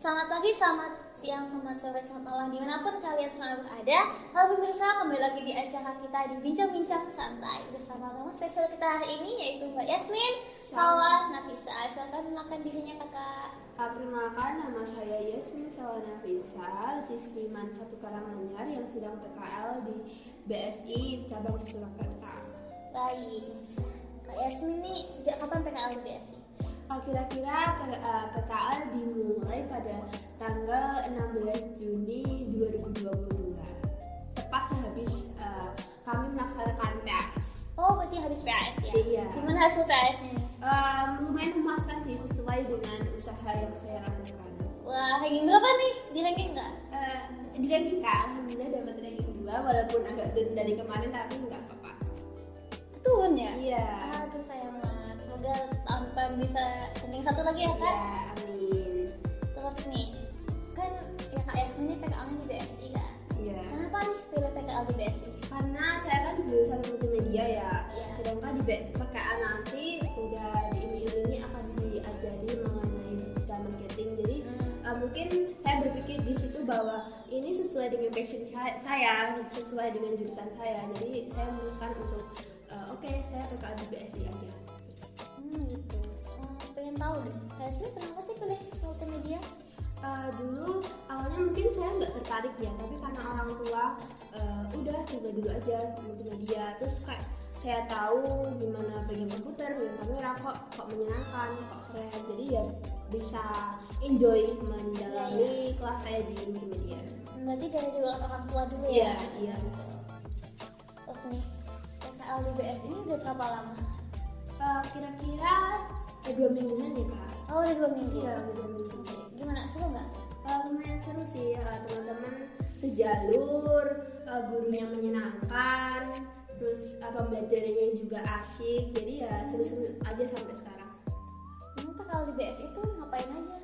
Selamat pagi, selamat siang, selamat sore, selamat malam dimanapun kalian semua berada. Halo pemirsa, kembali lagi di acara kita di bincang-bincang santai bersama tamu spesial kita hari ini yaitu Mbak Yasmin, Salwa, Nafisa. Silakan makan dirinya kakak. Ah, Perkenalkan, nama saya Yasmin Sawana Risa, siswi MAN satu Karanganyar yang sedang PKL di BSI cabang Surakarta. Baik. Mbak Yasmin nih sejak kapan PKL di BSI? Ah, Kira-kira P- ah, PKL dimulai pada tanggal 16 Juni 2022. Tepat sehabis ah, kami melaksanakan PAS. Oh, berarti habis PAS ya? Iya. Gimana hasil PAS-nya? Eh, lumayan memuaskan sih sesuai dengan usaha yang saya lakukan. Wah, ranking berapa nih? Di ranking nggak? Eh, di ranking Kak, alhamdulillah dapat ranking 2 walaupun agak turun dari kemarin tapi nggak apa-apa. Turun ya? Iya. Aduh sayang banget. Semoga tahun depan bisa ranking satu lagi ya kak. Iya, amin. Terus nih, kan ya kak Yasmin ini PKL nya di BSI kan. Iya. Kenapa nih pilih PKL di BSI? Karena saya kan jurusan multimedia ya. Iya. Sedangkan di B- PKA nanti udah diiming-imingi akan diajari mengenai digital marketing. Jadi Hmm. eh, mungkin saya berpikir di situ bahwa ini sesuai dengan passion saya- saya, sesuai dengan jurusan saya. Jadi saya memutuskan untuk eh, oke, saya PKA di BSI aja. Hmm gitu. Hmm, pengen tahu deh, kak Yasmin kenapa sih pilih multimedia? Eh, dulu awalnya mungkin saya nggak tertarik ya tapi karena orang tua eh, udah coba dulu aja multimedia terus kayak saya tahu gimana bagian komputer bagian kamera kok kok menyenangkan kok keren jadi ya bisa enjoy mendalami kelas saya di multimedia Hmm, Berarti dari diulang orang tua dulu iya ya? iya Terus nih, PKL di BSI ini udah berapa lama? Eh, kira-kira eh, dua mingguan ya kak Oh udah dua minggu. iya udah dua minggu Oke, Gimana seru nggak? Eh, lumayan seru sih eh, teman-teman sejalur eh, gurunya menyenangkan terus eh, pembelajarannya juga asyik jadi ya seru-seru aja sampai sekarang Emang PKL di BSI itu ngapain aja?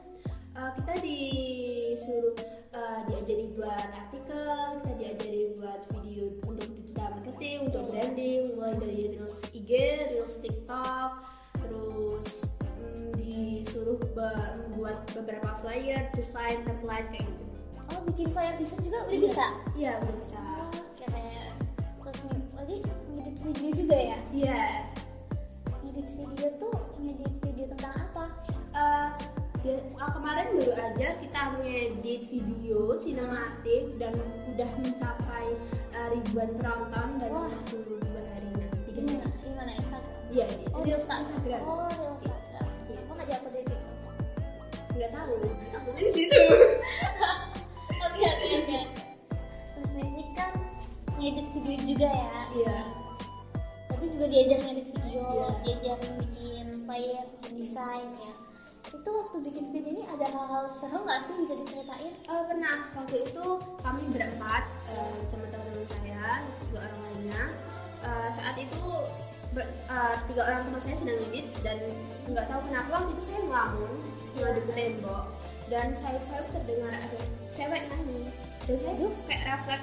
Eh, kita disuruh eh, diajari buat artikel kita diajari buat video untuk digital marketing untuk branding mulai dari reels IG reels TikTok terus mm, disuruh be- membuat beberapa flyer desain template kayak gitu Oh bikin flyer desain juga udah Iya. bisa? iya udah bisa Oh, keren. Terus nih, tadi ngedit video juga ya? Iya, Ngedit video tuh ngedit video tentang apa? eh, dia- eh, kemarin baru aja kita ngedit video sinematik dan udah mencapai eh, ribuan penonton dan Wah. 42 hari nanti kan? Gimana? Gimana Instagram? Iya, di Oh, di di Instagram. Oh, di Instagram. Iya. Emang nggak diupload di TikTok? Nggak tahu, tapi di situ. Oke, oke, oke. Terus nih, ini kan ngedit video juga ya? Iya. Tadi juga diajar ngedit video, Iya. diajarin bikin player, bikin desain ya. Itu waktu bikin video ini ada hal-hal seru nggak sih bisa diceritain? Eh, pernah waktu itu kami berempat eh, sama teman-teman saya dua orang lainnya Eh, saat itu ber- eh, tiga orang teman saya sedang edit dan nggak tahu kenapa waktu itu saya ngelamun ngadu ke tembok dan saya saya terdengar ada cewek nyanyi dan saya tuh kayak refleks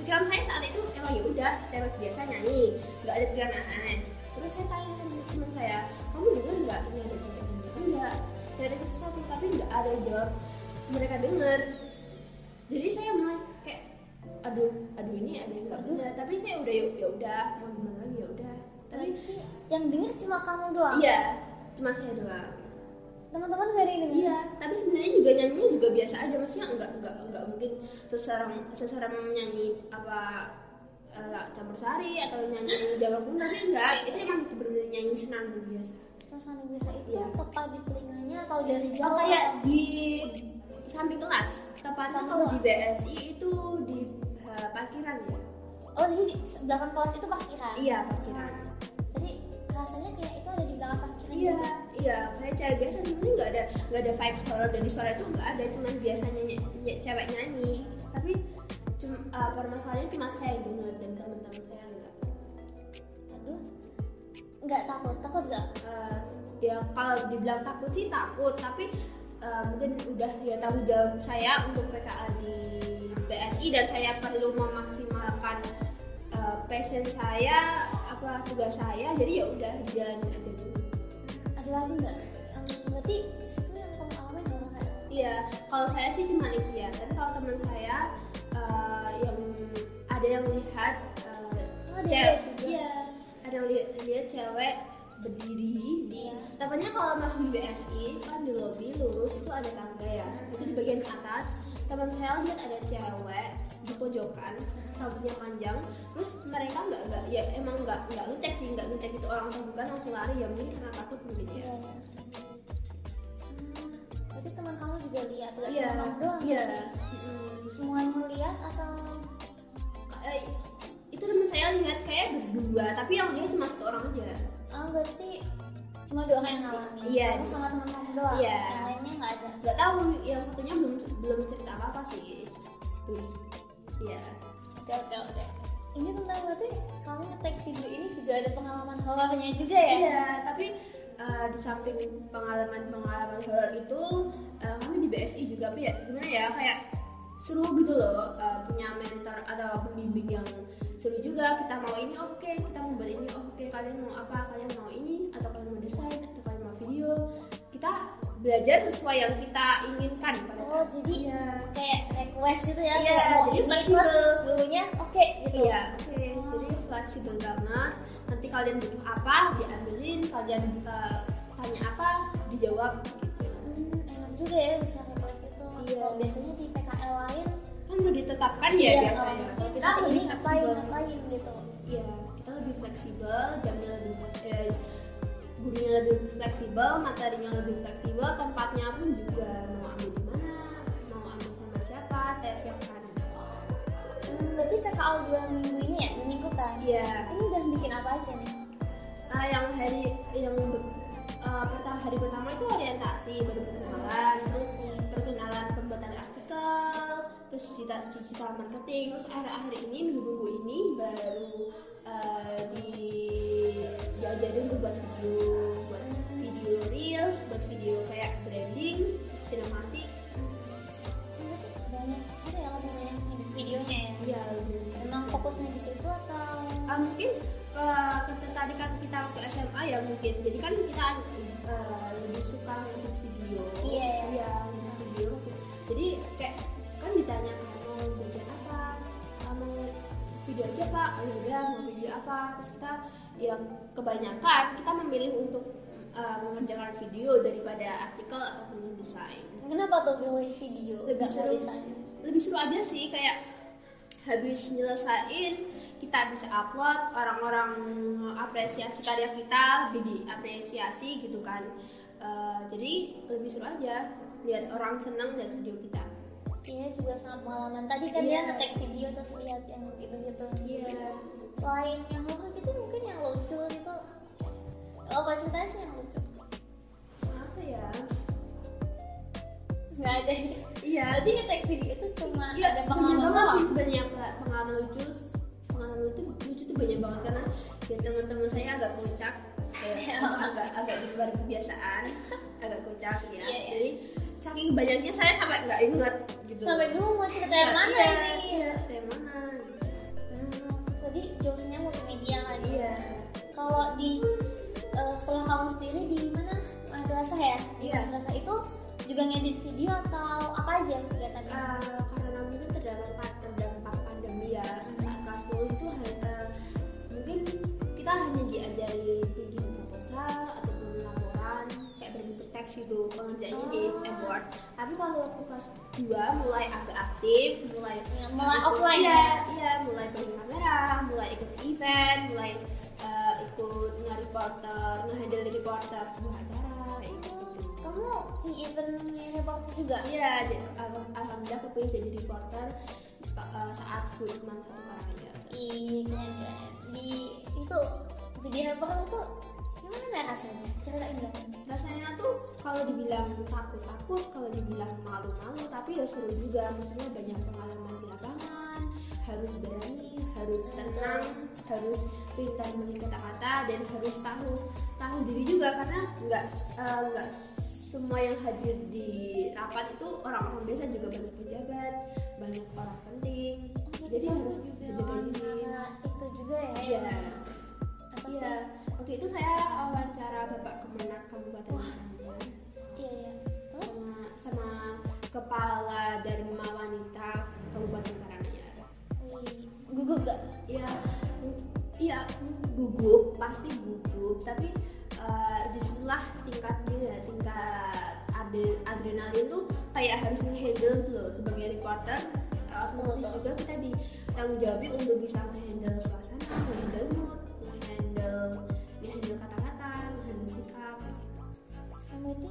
pikiran saya saat itu emang ya udah cewek biasa nyanyi nggak ada pikiran aneh terus saya tanya sama teman saya kamu dengar nggak ini ada cewek nyanyi enggak dari kasih satu tapi nggak ada yang jawab mereka dengar jadi saya mulai kayak aduh aduh ini ada yang nggak benar tapi saya udah ya ya udah mau gimana lagi ya udah tapi Tapi yang denger cuma kamu doang. iya cuma saya doang Teman-teman gak ada yang denger. Iya, tapi sebenarnya juga nyanyi juga biasa aja maksudnya nggak nggak nggak mungkin seserem seserem nyanyi apa eh, campur sari atau nyanyi jawa pun tapi enggak itu emang benar nyanyi senandung biasa Terus yang biasa itu Iya. tepat di telinganya atau dari oh jauh? kayak di samping kelas tepatnya Samping kalau di kelas. BSI itu di eh, parkiran ya Oh jadi di belakang kelas itu parkiran? iya parkiran Nah, jadi rasanya kayak itu ada di belakang parkiran iya gitu. iya kayak cewek biasa sebenarnya nggak ada nggak ada vibes horror dari suara itu nggak ada cuman biasanya ny- ny- cewek nyanyi tapi cuma eh, permasalahannya cuma saya yang dengar dan teman-teman saya nggak Aduh, nggak takut, takut nggak? Eh, ya kalau dibilang takut sih takut tapi eh, mungkin udah ya tanggung jawab saya untuk PKA di PSI dan saya perlu memaksimalkan eh, passion saya apa tugas saya jadi ya udah dijalanin aja dulu Ada lagi nggak? Em, berarti di situ yang kamu alamin hal-hal iya kalau saya sih cuma itu ya tapi kalau teman saya eh, yang ada yang lihat eh, Oh, ada cewek juga. iya ada yang li- lihat cewek berdiri di tepatnya kalau masuk di BSI kan di lobi lurus itu ada tangga ya itu di bagian atas teman saya lihat ada cewek di pojokan rambutnya panjang terus mereka nggak nggak ya emang nggak nggak ngecek sih nggak ngecek itu orang atau bukan langsung lari ya mungkin karena takut mungkin ya Iya. ya. Hmm, Itu teman kamu juga lihat, gak Iya, cuma kamu doang. iya. berarti? Mm-mm. Semuanya lihat atau Eh, itu teman saya lihat kayak berdua tapi yang dia cuma satu orang aja ah berarti cuma dua orang yang ngalamin. Iya. Kamu sama teman kamu doang. Iya. Yang lainnya nggak ada. nggak tahu yang satunya belum belum cerita apa apa sih belum ya Oke oke oke. Ini tentang berarti kamu ngetek video ini juga ada pengalaman horornya juga ya? iya tapi eh, di samping pengalaman pengalaman horor itu eh, kami di BSI juga tapi ya gimana ya kayak seru gitu loh eh, punya mentor atau pembimbing yang seru juga kita mau ini oke kita mau buat ini oke kalian mau apa kalian mau ini atau kalian mau desain atau kalian mau video kita belajar sesuai yang kita inginkan pada Oh, saat jadi iya Kayak request gitu ya? Iya, kayak mau jadi ini, fleksibel. terus Dulunya oke gitu. Iya, oke. Jadi fleksibel banget. Nanti kalian butuh apa, diambilin. Kalian eh, tanya apa, dijawab. Gitu. Hmm, enak juga ya bisa request itu. Iya. Kalau biasanya di PKL lain Kan udah ditetapkan ya Iya, biasanya. kalau Kalau kita kita lebih ini ngapain fleksibel. ngapain gitu Iya, kita lebih fleksibel. Jamnya lebih eh, gurunya lebih fleksibel, materinya lebih fleksibel, tempatnya pun juga mau ambil di mana, mau ambil sama siapa, saya siapkan. hmm, berarti PKL dua minggu ini ya dua minggu kan Iya. ini udah bikin apa aja nih Ah, yang hari yang be- eh, pertama hari pertama itu orientasi baru perkenalan terus perkenalan pembuatan artikel terus cita cita marketing terus akhir akhir ini minggu minggu ini baru eh, di diajarin tuh buat video buat video reels buat video kayak branding sinematik Hmm, berarti banyak itu ya lebih banyak edit videonya ya ya lebih- memang fokusnya di situ atau Ah, mungkin eh, ketertarikan kita waktu SMA ya mungkin jadi kan kita eh, lebih suka ngedit video Iya. Iya, ngedit video jadi kayak kan ditanya mau belajar apa Ah, mau video aja pak oh yaudah, mau video apa terus kita ya kebanyakan kita memilih untuk eh, mengerjakan video daripada artikel ataupun desain kenapa tuh pilih video Lebih Nggak seru. tulisan? lebih seru aja sih kayak habis nyelesain kita bisa upload orang-orang apresiasi karya kita lebih diapresiasi gitu kan Eh, jadi lebih seru aja lihat orang senang dari video kita Iya juga sama pengalaman tadi kan Iya. dia ngetek video terus lihat yang gitu-gitu iya selain yang horor gitu mungkin yang lucu gitu apa ceritanya sih yang lucu apa ya nggak ada ya iya berarti ngetek video itu cuma Iya, ada banyak pengalaman banget doang. sih banyak pengalaman lucu pengalaman lucu lucu tuh banyak banget karena ya teman-teman saya agak kocak kayak agak agak di luar kebiasaan agak kocak ya Iya, iya. jadi saking banyaknya saya sampai nggak inget gitu sampai dulu mau cerita yang mana Iya, ini iya yang mana gitu. hmm, tadi jokesnya multimedia kan iya kalau di eh, sekolah kamu sendiri di mana madrasah ya di Iya. madrasah itu juga ngedit video atau apa aja kegiatannya Eh, karena mungkin terdampak terdampak pandemi ya saat kelas 10 itu ha- eh, mungkin kita hanya diajari bikin proposal ataupun laporan kayak berbentuk teks gitu pengerjaannya di Oh. M Word tapi kalau waktu kelas 2 mulai agak aktif mulai Ya, mulai offline iya, ya? iya mulai beli kamera mulai ikut event mulai eh, ikut nge-reporter nge-handle reporter sebuah acara kayak gitu kamu di event reporter juga Iya, jadi alham- alhamdulillah kepilih jadi reporter pa- eh, saat Hutman satu karya. Ih, keren keren. di itu jadi reporter tuh gimana rasanya ceritain dong Rasanya tuh kalau dibilang takut-takut, kalau dibilang malu-malu, tapi ya seru juga. Maksudnya banyak pengalaman di lapangan, harus berani, harus tenang, harus pintar memilih kata-kata dan harus tahu tahu diri juga karena nggak s- eh, nggak semua yang hadir di rapat itu orang-orang biasa juga banyak pejabat, banyak orang penting. Jadi harus juga menjaga diri. itu juga ya Iya. apa sih Iya. Waktu itu saya wawancara Bapak Kemenak Kabupaten Marangan iya iya terus sama sama kepala Dharma Wanita Kabupaten Karanganyar. Wih, gugup gak? Ya, iya gugup, pasti gugup. Tapi eh, disitulah tingkat gini ya, tingkat ade- adrenalin tuh kayak harus handle tuh loh sebagai reporter. eh, Otomatis Betul. juga kita ditanggung jawabnya untuk bisa handle suasana, handle mood, handle handle kata-kata, handle sikap. gitu. Kamu itu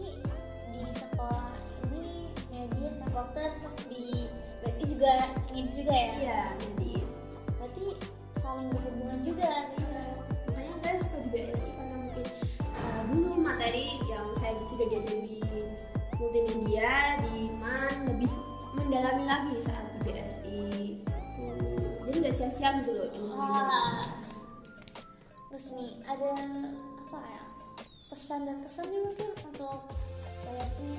di sekolah ini ngedit reporter terus di BSI juga ngedit juga ya? Iya, jadi Berarti saling berhubungan juga. Iya, makanya saya suka di BSI karena mungkin uh, dulu materi yang saya sudah diajari di multimedia di MAN lebih mendalami lagi saat di BSI gitu. jadi nggak sia-sia gitu loh ilmunya Wah. Terus nih ada apa ya? Pesan dan kesan nih mungkin untuk BSI.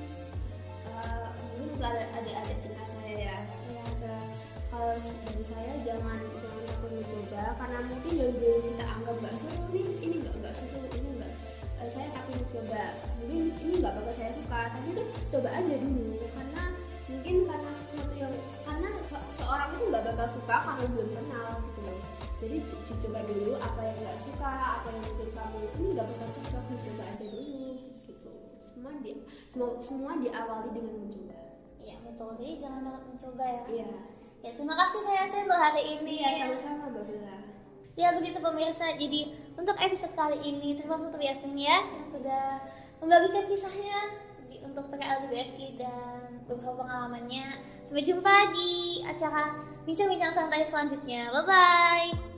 Uh, mungkin itu ada ada ada tingkat saya ya Iya. Nah, kalau se- dari saya jangan jangan takut mencoba karena mungkin yang dulu kita anggap nggak seru nih ini nggak nggak seru ini nggak eh, saya takut mencoba mungkin ini nggak bakal saya suka tapi itu coba aja dulu karena mungkin karena sesuatu yang karena se- seorang itu nggak bakal suka kalau belum kenal gitu loh jadi co- co- coba dulu apa yang nggak suka apa yang mungkin kamu ini nggak bakal cocok mencoba aja dulu gitu semua di semua, semua diawali dengan mencoba Iya betul. Jadi jangan takut mencoba ya. iya Ya terima kasih Kak Yasin untuk hari ini. Iya, sama-sama Mbak Bella. Ya begitu pemirsa, jadi untuk episode kali ini terima kasih untuk Yasmin ya yang sudah membagikan kisahnya di- untuk PKL di BSI dan beberapa pengalamannya. Sampai jumpa di acara bincang-bincang santai selanjutnya. Bye bye.